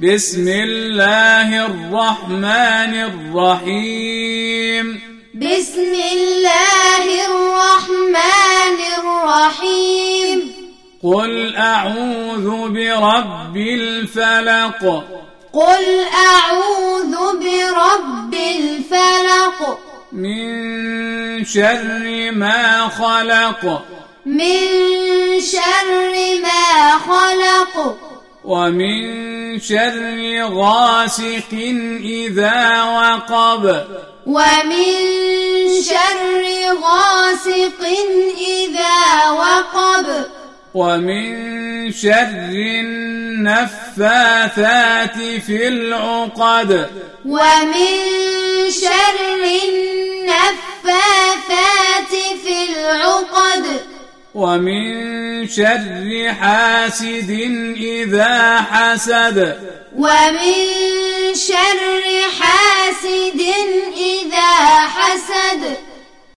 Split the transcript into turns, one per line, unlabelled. بسم الله الرحمن الرحيم
بسم الله الرحمن الرحيم
قل أعوذ برب الفلق
قل أعوذ برب الفلق
من شر ما خلق
من شر ما خلق
ومن شر غاسق إذا وقب
ومن شر غاسق إذا وقب
ومن شر النفاثات في العقد
ومن شر النفاثات في العقد
ومن شر حاسد إذا حسد
ومن شر حاسد